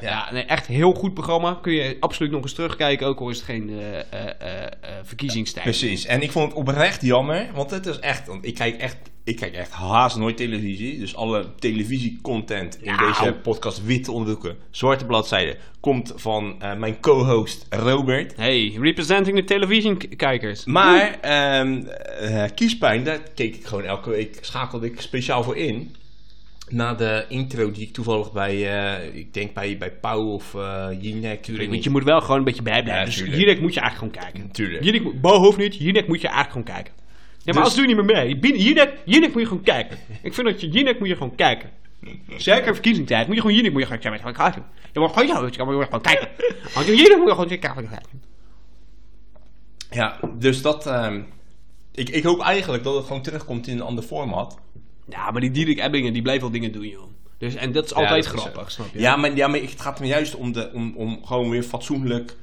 Speaker 2: Ja.
Speaker 1: Ja, nee, echt heel goed programma. Kun je absoluut nog eens terugkijken, ook al is het geen eh, eh, eh, eh, verkiezingstijd.
Speaker 2: Precies. En ik vond het oprecht jammer, want het is echt... Want ik kijk echt, ik kijk echt haast nooit televisie. Dus alle televisiecontent in
Speaker 1: Nou.
Speaker 2: deze podcast Witte Onderdoeken, Zwarte Bladzijde... komt van eh, mijn co-host Robert.
Speaker 1: Hey, representing de televisiekijkers.
Speaker 2: Maar ehm, eh, kiespijn, daar keek ik gewoon elke week, schakelde ik speciaal voor in. Na de intro die ik toevallig bij, eh, ik denk bij, bij Pauw of eh Jinek.
Speaker 1: Tuurlijk, want je moet wel gewoon een beetje bij blijven.
Speaker 2: Ja,
Speaker 1: dus
Speaker 2: tuurlijk.
Speaker 1: Jinek moet je eigenlijk gewoon kijken.
Speaker 2: Tuurlijk.
Speaker 1: Jinek, moet- Bo hoeft niet, Jinek moet je eigenlijk gewoon kijken. Ja, maar
Speaker 2: Dus-
Speaker 1: als doe je niet meer mee. Bin- Jinek, Jinek moet je gewoon kijken. Ik vind dat je Jinek moet je gewoon kijken. Zeker verkiezingstijd moet je gewoon Jinek moet je gewoon kijken. Gewoon kijken. Je moet gewoon, je moet gewoon kijken. Want Jinek moet je gewoon kijken.
Speaker 2: Ja, dus dat... ehm, ik, ik hoop eigenlijk dat het gewoon terugkomt in een ander format.
Speaker 1: Ja, maar die Dierik Ebbingen, die blijft wel dingen doen, joh. Dus, en dat is altijd grappig, snap je?
Speaker 2: eh, Ja, maar, ja, maar het gaat me juist om, de, om, om gewoon weer fatsoenlijk.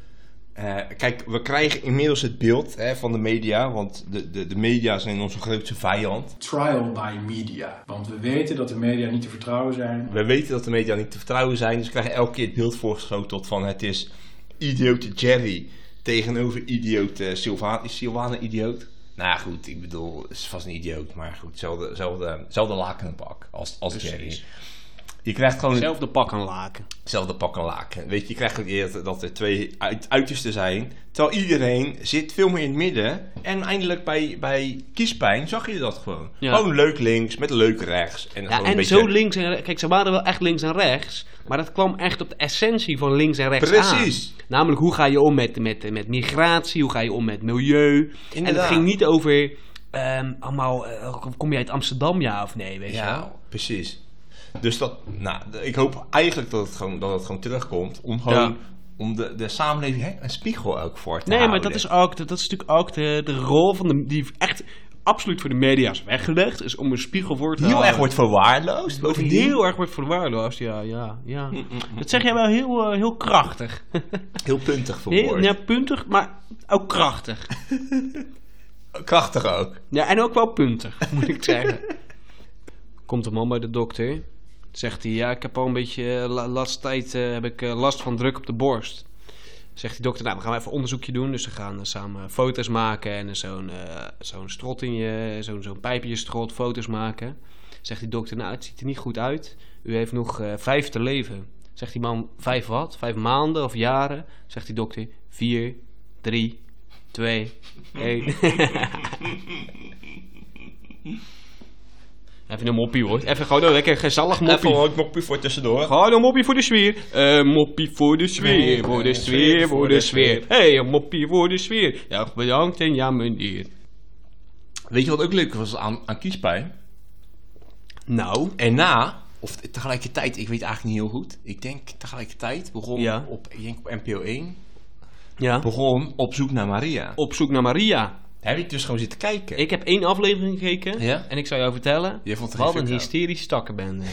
Speaker 2: eh, kijk, we krijgen inmiddels het beeld hè, van de media, want de, de, de media zijn onze grootste vijand.
Speaker 3: trial by media. Want we weten dat de media niet te vertrouwen zijn.
Speaker 2: We weten dat de media niet te vertrouwen zijn, dus we krijgen elke keer het beeld voorgeschoteld van het is idiote Jerry tegenover idiote Sylvaan. Is Sylvaan een idioot? Nou ja, goed, ik bedoel, het is vast een idioot, maar goed, zelfde, zelfde, zelfde lakenpak als, als Jerry. Je krijgt gewoon het-
Speaker 1: Zelf de pak aan laken.
Speaker 2: hetzelfde pak en laken. Weet je, je krijgt ook eerder dat er twee uit, uitersten zijn. Terwijl iedereen zit veel meer in het midden. En eindelijk bij, bij kiespijn zag je dat gewoon.
Speaker 1: Ja.
Speaker 2: Gewoon leuk links met leuk rechts. En,
Speaker 1: Ja,
Speaker 2: gewoon
Speaker 1: en zo links en rechts. Kijk, ze waren wel echt links en rechts. Maar dat kwam echt op de essentie van links en rechts aan.
Speaker 2: Precies.
Speaker 1: Namelijk, hoe ga je om met, met, met migratie? Hoe ga je om met milieu? En
Speaker 2: Inderdaad.
Speaker 1: het ging niet over... ehm, allemaal, eh, kom je uit Amsterdam, ja of nee? Weet je
Speaker 2: Ja, precies. Dus dat, nou, d- ik hoop eigenlijk dat het gewoon, dat het gewoon terugkomt. Om gewoon,
Speaker 1: Ja.
Speaker 2: om de, de samenleving hè, een spiegel ook voor te
Speaker 1: Nee,
Speaker 2: houden.
Speaker 1: maar dat is, ook, dat, dat is natuurlijk ook de, de rol van de... Die echt absoluut voor de media is weggelegd. Is om een spiegel voor te
Speaker 2: Heel
Speaker 1: houden.
Speaker 2: erg wordt verwaarloosd.
Speaker 1: Wordt
Speaker 2: Bovendien.
Speaker 1: heel erg wordt verwaarloosd, ja, ja, ja.
Speaker 2: Mm,
Speaker 1: Dat zeg jij wel heel, eh, heel krachtig.
Speaker 2: heel puntig
Speaker 1: Heel,
Speaker 2: verwoord.
Speaker 1: ja, puntig, maar ook krachtig.
Speaker 2: Krachtig ook.
Speaker 1: Ja, en ook wel puntig, moet ik zeggen. Komt een man bij de dokter. Zegt hij, ja, ik heb al een beetje eh, la- laatste tijd eh, heb ik eh, last van druk op de borst. Zegt die dokter, nou, we gaan even onderzoekje doen. Dus ze gaan eh, samen foto's maken en zo'n eh, zo'n strot in je, zo'n zo'n pijp in je strot, foto's maken. Zegt die dokter, nou, het ziet er niet goed uit. U heeft nog eh, vijf te leven. Zegt die man, vijf wat? Vijf maanden of jaren? Zegt die dokter, vier, drie, twee, één. Even een moppie hoor. Even gewoon een lekker gezellig moppie.
Speaker 2: Even gewoon een knopje voor tussendoor.
Speaker 1: Gewoon een moppie voor de sfeer. Een moppie voor de sfeer. Voor
Speaker 2: eh,
Speaker 1: de sfeer, voor de sfeer. Hé, hey, een moppie voor de sfeer. Ja, bedankt en ja meneer.
Speaker 2: Weet je wat ook leuk was aan, aan kiespijn?
Speaker 1: Nou.
Speaker 2: En na, of tegelijkertijd, ik weet eigenlijk niet heel goed. Ik denk tegelijkertijd begon
Speaker 1: Ja.
Speaker 2: op, ik denk op NPO 1,
Speaker 1: Ja.
Speaker 2: begon op zoek naar Maria.
Speaker 1: Op zoek naar Maria.
Speaker 2: Daar heb ik dus gewoon zitten kijken.
Speaker 1: Ik heb één aflevering gekeken.
Speaker 2: Ja?
Speaker 1: En ik zou jou vertellen.
Speaker 2: Je vond het
Speaker 1: wat
Speaker 2: geen
Speaker 1: een
Speaker 2: fuck aan.
Speaker 1: hysterische takkenbende.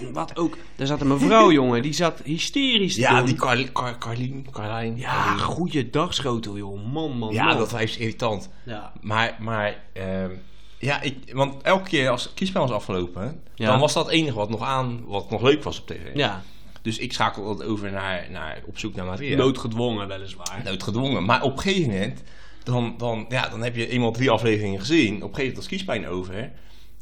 Speaker 1: En wat ook. Er zat een mevrouw, jongen. Die zat hysterisch te
Speaker 2: ja,
Speaker 1: doen.
Speaker 2: die Carl, Car- Carlien, Carlijn.
Speaker 1: Ja, goeiedag schotel, joh. Man, man,
Speaker 2: ja
Speaker 1: man.
Speaker 2: dat wijf is irritant.
Speaker 1: Ja.
Speaker 2: Maar, maar ehm, ja, ik, want elke keer als kiespijn was afgelopen,
Speaker 1: Ja.
Speaker 2: dan was dat het enige wat nog aan, wat nog leuk was op tv.
Speaker 1: Ja.
Speaker 2: Dus ik schakelde dat over naar, naar op zoek naar Maria.
Speaker 1: Noodgedwongen, weliswaar.
Speaker 2: noodgedwongen. Maar op een gegeven moment, dan, dan, ja, dan heb je eenmaal drie afleveringen gezien. Op een gegeven moment was kiespijn over.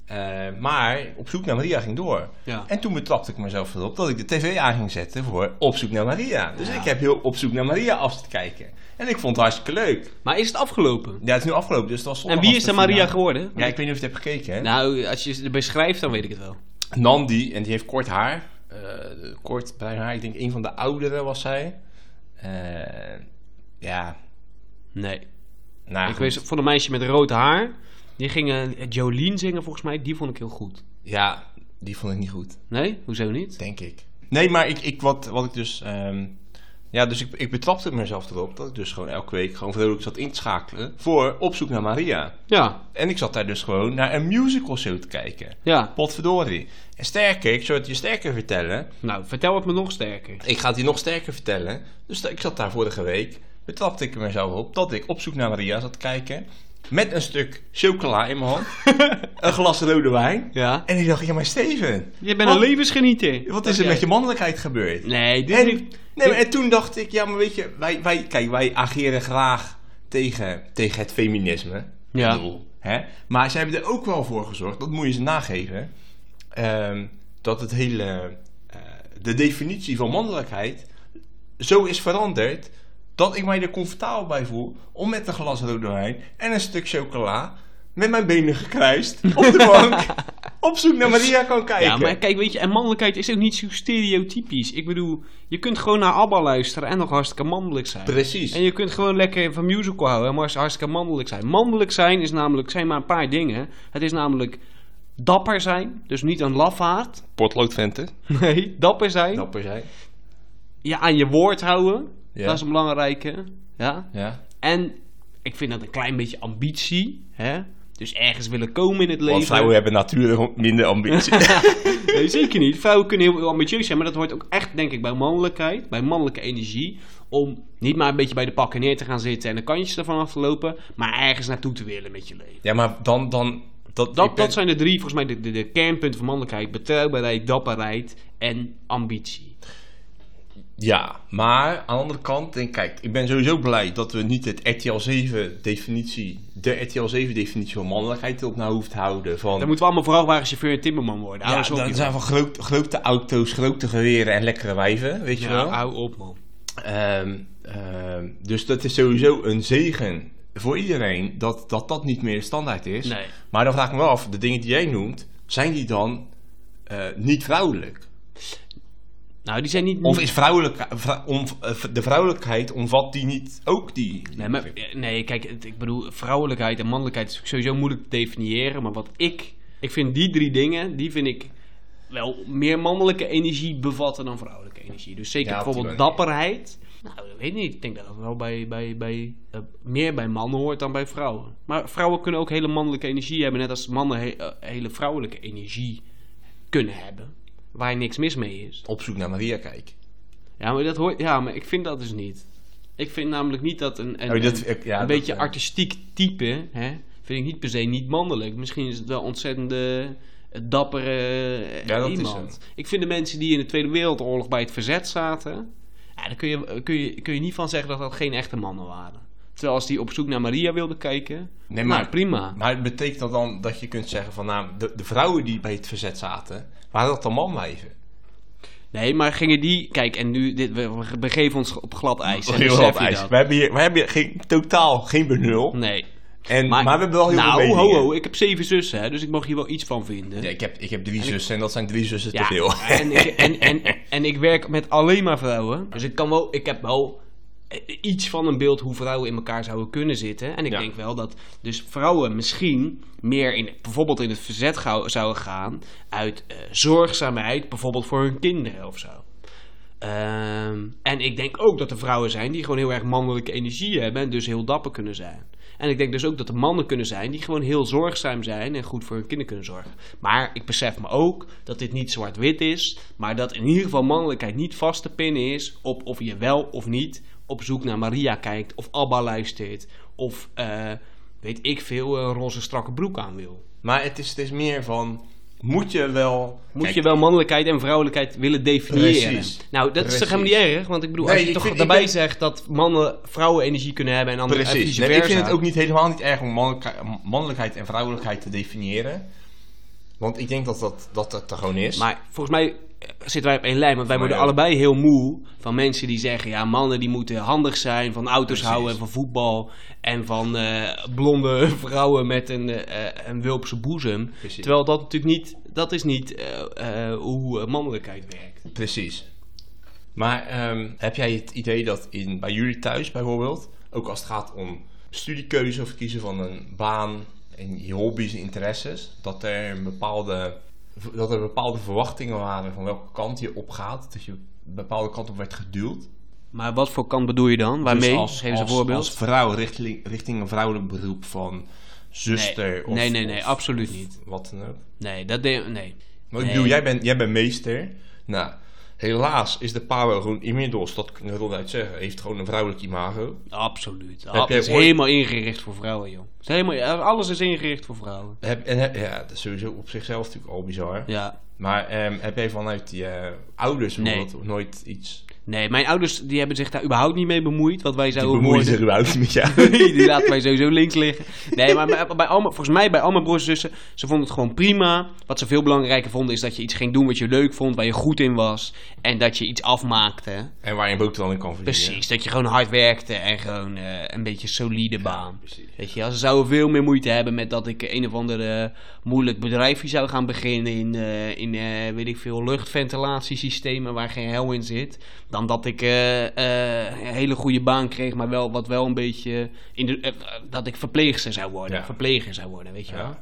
Speaker 2: Eh, maar op zoek naar Maria ging door.
Speaker 1: Ja.
Speaker 2: En toen betrapte ik mezelf erop dat ik de tv aan ging zetten voor Op zoek naar Maria. Dus ik heb heel Op zoek naar Maria af te kijken. En ik vond het hartstikke leuk.
Speaker 1: Maar is het afgelopen?
Speaker 2: Ja, het is nu afgelopen, dus het was zondag
Speaker 1: En wie
Speaker 2: was
Speaker 1: is
Speaker 2: de
Speaker 1: er Maria
Speaker 2: finale.
Speaker 1: geworden?
Speaker 2: Ja, ik weet niet of je het hebt gekeken. Hè?
Speaker 1: Nou, als je het beschrijft, dan weet ik het wel.
Speaker 2: Nandi, en die heeft kort haar. Eh, kort bruin haar. Ik denk een van de ouderen was zij. Eh, ja,
Speaker 1: Nee.
Speaker 2: nou
Speaker 1: ik
Speaker 2: goed.
Speaker 1: weet van een meisje met rood haar. Die ging eh, Jolien zingen, volgens mij. Die vond ik heel goed.
Speaker 2: Ja, die vond ik niet goed.
Speaker 1: Nee? Hoezo niet?
Speaker 2: Denk ik. Nee, maar ik, ik, wat, wat ik dus ehm, Ja, dus ik, ik betrapte mezelf erop dat ik dus gewoon elke week gewoon vrolijk zat in te schakelen voor Op zoek naar Maria.
Speaker 1: Ja,
Speaker 2: En ik zat daar dus gewoon naar een musical show te kijken.
Speaker 1: ja.
Speaker 2: Potverdorie. En sterker, ik zou het je sterker vertellen.
Speaker 1: Nou, vertel het me nog sterker.
Speaker 2: Ik ga het je nog sterker vertellen. Dus da- ik zat daar vorige week. Betrapte ik er mezelf op dat ik op zoek naar Maria zat te kijken. Met een stuk chocola in mijn hand. een glas rode wijn.
Speaker 1: Ja?
Speaker 2: En ik dacht, ja maar Steven,
Speaker 1: Je bent
Speaker 2: Wat?
Speaker 1: een levensgenieter.
Speaker 2: wat is er met je mannelijkheid gebeurd?
Speaker 1: Nee, dit
Speaker 2: En,
Speaker 1: is-
Speaker 2: nee, maar en toen dacht ik, ja maar weet je, wij, wij, kijk, wij ageren graag tegen, tegen het feminisme.
Speaker 1: Ja.
Speaker 2: Ik bedoel, hè? Maar ze hebben er ook wel voor gezorgd, dat moet je ze nageven, ehm, dat het hele, eh, de definitie van mannelijkheid zo is veranderd dat ik mij er comfortabel bij voel om met een glas rode wijn en een stuk chocola met mijn benen gekruist op de bank op zoek naar Maria kan kijken.
Speaker 1: Ja, maar kijk, weet je, en mannelijkheid is ook niet zo stereotypisch. Ik bedoel, je kunt gewoon naar ABBA luisteren en nog hartstikke mannelijk zijn.
Speaker 2: Precies.
Speaker 1: En je kunt gewoon lekker van musical houden en maar eens hartstikke mannelijk zijn. Mannelijk zijn is namelijk, zijn maar een paar dingen. Het is namelijk dapper zijn, dus niet een lafaard.
Speaker 2: Potloodventen.
Speaker 1: Nee, dapper zijn.
Speaker 2: Dapper zijn.
Speaker 1: Ja, aan je woord houden.
Speaker 2: Ja.
Speaker 1: Dat is een belangrijke. Ja.
Speaker 2: Ja.
Speaker 1: En ik vind dat een klein beetje ambitie. Hè? Dus ergens willen komen in het leven.
Speaker 2: Want vrouwen hebben natuurlijk minder ambitie.
Speaker 1: Nee, zeker niet. Vrouwen kunnen heel, heel ambitieus zijn, maar dat hoort ook echt, denk ik, bij mannelijkheid, bij mannelijke energie. Om niet maar een beetje bij de pakken neer te gaan zitten en de kantjes ervan af te lopen, maar ergens naartoe te willen met je leven.
Speaker 2: ja, maar dan... dan dat,
Speaker 1: Dat,
Speaker 2: ik ben-
Speaker 1: dat zijn de drie, volgens mij, de, de, de kernpunten van mannelijkheid: betrouwbaarheid, dapperheid en ambitie.
Speaker 2: Ja, maar aan de andere kant, denk, ik, kijk, ik ben sowieso blij dat we niet het RTL 7 definitie, de RTL 7 definitie van mannelijkheid op nou hoeft houden. Van,
Speaker 1: Dan moeten we allemaal vrachtwagenchauffeur en timmerman worden. Hou
Speaker 2: ja,
Speaker 1: eens op,
Speaker 2: dan
Speaker 1: joh.
Speaker 2: zijn van groot, grote auto's, grote geweren en lekkere wijven, weet je
Speaker 1: Ja,
Speaker 2: wel.
Speaker 1: hou op, man.
Speaker 2: Ehm, ehm, dus dat is sowieso een zegen voor iedereen dat dat, dat niet meer standaard is.
Speaker 1: Nee.
Speaker 2: Maar dan vraag ik me af, de dingen die jij noemt, zijn die dan eh, niet vrouwelijk?
Speaker 1: Nou, die zijn niet.
Speaker 2: Of is vrouwelijk, vrou- om- eh, de vrouwelijkheid, omvat die niet ook die? die
Speaker 1: Nee, maar, nee, kijk, het- ik bedoel, vrouwelijkheid en mannelijkheid is sowieso moeilijk te definiëren. Maar wat ik, ik vind die drie dingen, die vind ik wel meer mannelijke energie bevatten dan vrouwelijke energie. Dus zeker
Speaker 2: Ja, op die
Speaker 1: bijvoorbeeld
Speaker 2: manier.
Speaker 1: dapperheid. Nou, ik weet niet. Ik denk dat dat wel bij, bij, bij, eh, meer bij mannen hoort dan bij vrouwen. Maar vrouwen kunnen ook hele mannelijke energie hebben, net als mannen he- eh, hele vrouwelijke energie kunnen hebben. Waar niks mis mee is.
Speaker 2: op zoek naar Maria kijk.
Speaker 1: Ja, maar, dat hoort, ja, maar ik vind dat dus niet. Ik vind namelijk niet dat een, een,
Speaker 2: Oh, dat-
Speaker 1: een-
Speaker 2: ik- ja,
Speaker 1: een
Speaker 2: dat,
Speaker 1: beetje
Speaker 2: eh.
Speaker 1: artistiek type, hè, vind ik niet per se niet mannelijk. Misschien is het wel ontzettende eh, dappere eh,
Speaker 2: Ja, dat is
Speaker 1: iemand.
Speaker 2: het.
Speaker 1: Ik vind de mensen die in de Tweede Wereldoorlog bij het verzet zaten, ja, daar kun je, kun, je, kun je niet van zeggen dat dat geen echte mannen waren. Terwijl als die op zoek naar Maria wilden kijken,
Speaker 2: Nee,
Speaker 1: nou,
Speaker 2: maar-
Speaker 1: prima.
Speaker 2: Maar het betekent dat dan dat je kunt zeggen van nou, de, de vrouwen die bij het verzet zaten, waren dat dan manwijven?
Speaker 1: Nee, maar gingen die... Kijk, en nu, dit, we, we begeven ons op glad ijs. en
Speaker 2: Heel
Speaker 1: besef
Speaker 2: glad
Speaker 1: je
Speaker 2: ijs.
Speaker 1: dat.
Speaker 2: We hebben hier, we hebben hier geen, totaal geen benul.
Speaker 1: Nee.
Speaker 2: En, maar, we hebben wel heel
Speaker 1: nou,
Speaker 2: veel meningen.
Speaker 1: ho, ho, ik heb zeven zussen, hè, dus ik mag hier wel iets van vinden.
Speaker 2: Ja, ik, heb, ik heb drie zussen en dat zijn drie zussen te veel.
Speaker 1: en, ik, en, en, en ik werk met alleen maar vrouwen. Dus ik, kan wel, ik heb wel eh, iets van een beeld hoe vrouwen in elkaar zouden kunnen zitten. En ik
Speaker 2: Ja.
Speaker 1: denk wel dat dus vrouwen misschien meer in, bijvoorbeeld in het verzet gauw- zouden gaan... uit eh, zorgzaamheid, bijvoorbeeld voor hun kinderen of zo. Ehm, en ik denk ook dat er vrouwen zijn die gewoon heel erg mannelijke energie hebben en dus heel dapper kunnen zijn. En ik denk dus ook dat er mannen kunnen zijn die gewoon heel zorgzaam zijn en goed voor hun kinderen kunnen zorgen. Maar ik besef me ook dat dit niet zwart-wit is, maar dat in ieder geval mannelijkheid niet vast te pinnen is op of je wel of niet op zoek naar Maria kijkt of Abba luistert of eh, weet ik veel, een roze strakke broek aan wil.
Speaker 2: Maar het is, het is meer van, moet je wel...
Speaker 1: Moet
Speaker 2: Kijk,
Speaker 1: je wel mannelijkheid en vrouwelijkheid willen definiëren?
Speaker 2: Precies.
Speaker 1: Nou, dat is toch helemaal
Speaker 2: Precies.
Speaker 1: niet erg? Want ik bedoel,
Speaker 2: Nee,
Speaker 1: als je
Speaker 2: ik
Speaker 1: toch
Speaker 2: vind- ik
Speaker 1: daarbij
Speaker 2: ben-
Speaker 1: zegt dat mannen vrouwen energie kunnen hebben en anderen en
Speaker 2: Precies.
Speaker 1: vice
Speaker 2: Nee,
Speaker 1: versa.
Speaker 2: ik vind het ook niet, helemaal niet erg om mannelijkheid, mannelijkheid en vrouwelijkheid te definiëren. Want ik denk dat dat, dat, dat er gewoon is.
Speaker 1: Maar volgens mij eh, zitten wij op één lijn, want wij
Speaker 2: mij
Speaker 1: worden
Speaker 2: ook.
Speaker 1: allebei heel moe van mensen die zeggen: ja, mannen die moeten handig zijn, van auto's
Speaker 2: Precies.
Speaker 1: houden en van voetbal en van eh, blonde vrouwen met een, eh, eh, een wulpse boezem.
Speaker 2: Precies.
Speaker 1: Terwijl dat natuurlijk niet, dat is niet eh, eh, hoe eh, mannelijkheid werkt.
Speaker 2: Precies. Maar ehm, heb jij het idee dat in, bij jullie thuis bijvoorbeeld, ook als het gaat om studiekeuze of het kiezen van een baan en je hobby's en interesses, dat er, een bepaalde, dat er bepaalde verwachtingen waren van welke kant je op gaat, dat je een bepaalde kant op werd geduwd?
Speaker 1: Maar wat voor kant bedoel je dan? Waarmee?
Speaker 2: Dus als,
Speaker 1: Geef eens een
Speaker 2: als-
Speaker 1: voorbeeld.
Speaker 2: Als vrouw richting, richting een vrouwelijk beroep van zuster
Speaker 1: nee.
Speaker 2: of...
Speaker 1: nee, nee, nee,
Speaker 2: of
Speaker 1: absoluut niet.
Speaker 2: Wat dan ook.
Speaker 1: Nee, dat deed... Nee.
Speaker 2: Maar
Speaker 1: Nee.
Speaker 2: ik bedoel, jij bent, jij bent meester. Nou, helaas is de power gewoon inmiddels, dat kan ik ronduit zeggen, heeft gewoon een vrouwelijk imago.
Speaker 1: Absoluut.
Speaker 2: jij
Speaker 1: Het is
Speaker 2: ooit-
Speaker 1: helemaal ingericht voor vrouwen, joh. Het is helemaal, alles is ingericht voor vrouwen.
Speaker 2: Heb, en heb- ja, dat is sowieso op zichzelf natuurlijk al bizar.
Speaker 1: Ja.
Speaker 2: Maar ehm, heb jij vanuit je eh, ouders
Speaker 1: Nee.
Speaker 2: bijvoorbeeld nooit iets...
Speaker 1: Nee, mijn ouders die hebben zich daar überhaupt niet mee bemoeid. Wat wij
Speaker 2: Die
Speaker 1: zouden
Speaker 2: bemoeien
Speaker 1: worden.
Speaker 2: zich überhaupt met jou.
Speaker 1: die laten mij sowieso links liggen. Nee, maar bij, bij al mijn- volgens mij bij al mijn broers en zussen, ze vonden het gewoon prima. Wat ze veel belangrijker vonden is dat je iets ging doen wat je leuk vond, waar je goed in was. En dat je iets afmaakte.
Speaker 2: en waar je een boterham in kan verdienen.
Speaker 1: Precies, dat je gewoon hard werkte en gewoon eh, een beetje solide baan.
Speaker 2: precies.
Speaker 1: Weet je, wel, ze zouden veel meer moeite hebben met dat ik een of ander eh, moeilijk bedrijfje zou gaan beginnen in, eh, in eh, weet ik veel, luchtventilatiesystemen waar geen hel in zit. Dan dat ik eh, eh, een hele goede baan kreeg, maar wel, wat wel een beetje, in de, eh, dat ik verpleegster zou worden,
Speaker 2: Ja.
Speaker 1: verpleger zou worden, weet je wel.
Speaker 2: Ja.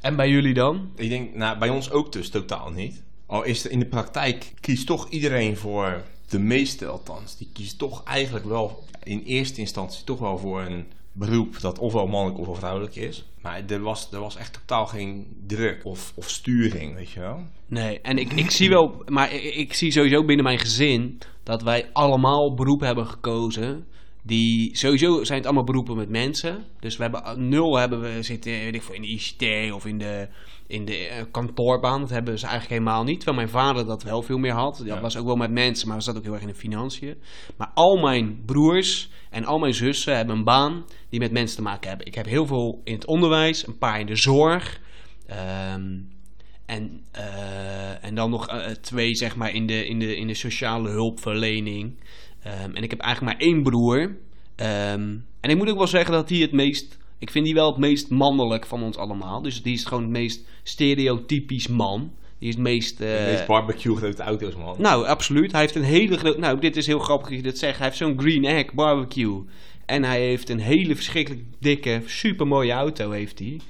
Speaker 1: En bij jullie dan?
Speaker 2: Ik denk, nou, bij ons ook dus totaal niet. Al is er in de praktijk, kiest toch iedereen voor, de meeste althans, die kiest toch eigenlijk wel in eerste instantie toch wel voor een beroep dat ofwel mannelijk ofwel vrouwelijk is. Maar er was, er was echt totaal geen druk of, of sturing, weet je wel.
Speaker 1: Nee, en ik, ik zie wel, maar ik, ik zie sowieso binnen mijn gezin dat wij allemaal beroepen hebben gekozen. Die sowieso zijn het allemaal beroepen met mensen. Dus we hebben nul hebben we zitten, weet ik veel, in de ICT of in de, in de eh, kantoorbaan. Dat hebben ze eigenlijk helemaal niet. Terwijl mijn vader dat wel veel meer had. Dat
Speaker 2: Ja.
Speaker 1: was ook wel met mensen, maar zat ook heel erg in de financiën. Maar al mijn broers en al mijn zussen hebben een baan die met mensen te maken hebben. Ik heb heel veel in het onderwijs, een paar in de zorg. Ehm, en, eh, en dan nog eh, twee, zeg maar, in de, in de, in de sociale hulpverlening. Ehm, en ik heb eigenlijk maar één broer. Ehm, en ik moet ook wel zeggen dat die het meest... Ik vind die wel het meest mannelijk van ons allemaal. Dus die is gewoon het meest stereotypisch man. Die is het meest... eh,
Speaker 2: Deze barbecue grote auto's, man.
Speaker 1: nou, absoluut. Hij heeft een hele grote... Nou, dit is heel grappig dat je dit zegt. Hij heeft zo'n green egg barbecue. En hij heeft een hele verschrikkelijk dikke, supermooie auto heeft hij.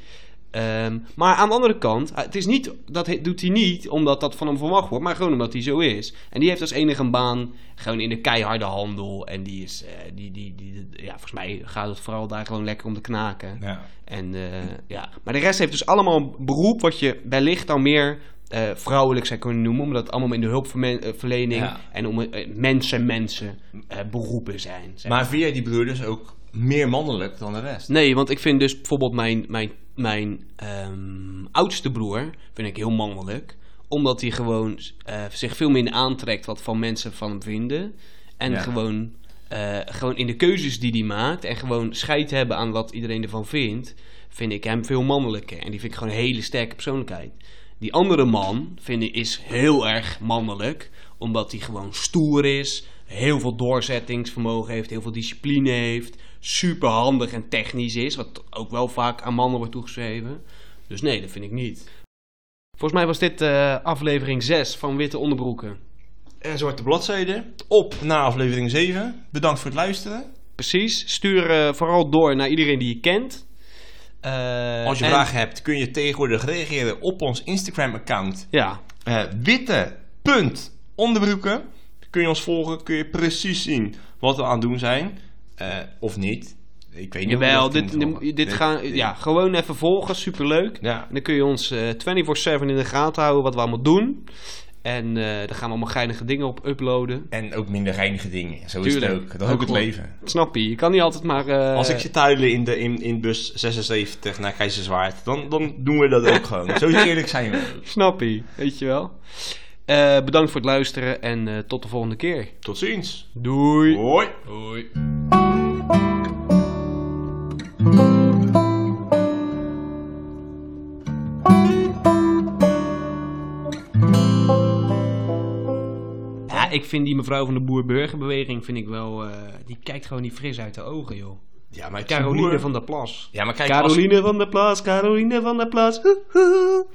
Speaker 1: Ehm, maar aan de andere kant, het is niet, dat he- doet hij niet omdat dat van hem verwacht wordt, maar gewoon omdat hij zo is. En die heeft als enige een baan gewoon in de keiharde handel. En die is, eh, die, die, die, ja, volgens mij gaat het vooral daar gewoon lekker om te knaken.
Speaker 2: Ja.
Speaker 1: En, eh, ja. Maar de rest heeft dus allemaal een beroep wat je wellicht dan meer eh, vrouwelijk zou kunnen noemen. Omdat het allemaal in de hulpverlening
Speaker 2: Ja.
Speaker 1: en om eh, mensen, mensen eh, beroepen zijn. zeg
Speaker 2: Maar vind jij die broer dus ook meer mannelijk dan de rest?
Speaker 1: Nee, want ik vind dus bijvoorbeeld mijn, mijn, mijn ehm, oudste broer vind ik heel mannelijk. Omdat hij gewoon eh, zich veel minder aantrekt wat van mensen van hem vinden. En
Speaker 2: Ja.
Speaker 1: gewoon, eh, gewoon in de keuzes die hij maakt en gewoon scheid hebben aan wat iedereen ervan vindt, vind ik hem veel mannelijker. En die vind ik gewoon een hele sterke persoonlijkheid. Die andere man vind ik is heel erg mannelijk, omdat hij gewoon stoer is, heel veel doorzettingsvermogen heeft, heel veel discipline heeft, super handig en technisch is, wat ook wel vaak aan mannen wordt toegeschreven. Dus nee, dat vind ik niet. Volgens mij was dit eh, aflevering 6 van Witte Onderbroeken.
Speaker 2: En Eh, zwarte bladzijde, op naar aflevering 7. Bedankt voor het luisteren.
Speaker 1: Precies. Stuur eh, vooral door naar iedereen die je kent. Eh,
Speaker 2: Als je
Speaker 1: en-
Speaker 2: vragen hebt, kun je tegenwoordig reageren op ons Instagram-account
Speaker 1: Ja,
Speaker 2: eh witte punt onderbroeken. Kun je ons volgen, kun je precies zien wat we aan het doen zijn. Eh, of niet. Ik weet niet. of
Speaker 1: jawel.
Speaker 2: dat
Speaker 1: Dit,
Speaker 2: moet
Speaker 1: dit,
Speaker 2: worden.
Speaker 1: dit gaan, ja, gewoon even volgen. Superleuk.
Speaker 2: Ja.
Speaker 1: En dan kun je ons eh 24-7 in de gaten houden wat we allemaal doen. En eh daar gaan we allemaal geinige dingen op uploaden.
Speaker 2: En ook minder reinige dingen. Zo is
Speaker 1: Tuurlijk.
Speaker 2: het ook. Dat is ook het
Speaker 1: Ook
Speaker 2: leven.
Speaker 1: Snap je? Je kan niet altijd maar... eh,
Speaker 2: Eh, Als ik zit tuilen in, de, in, in bus 76 naar Keizerswaard, dan, dan doen we dat ook gewoon. Zo eerlijk zijn we. ook.
Speaker 1: Snap je? Weet je wel. Eh, bedankt voor het luisteren en eh, tot de volgende keer.
Speaker 2: Tot ziens.
Speaker 1: Doei.
Speaker 2: Hoi.
Speaker 1: Doei. Ja, ik vind die mevrouw van de boer-burgerbeweging vind ik wel... eh, die kijkt gewoon niet fris uit de ogen, joh.
Speaker 2: Ja, maar het is een
Speaker 1: Caroline
Speaker 2: boer.
Speaker 1: van der Plas.
Speaker 2: Ja, maar kijk, als-
Speaker 1: Caroline van der Plas, Caroline van der Plas. Hoe, hoe, hoe.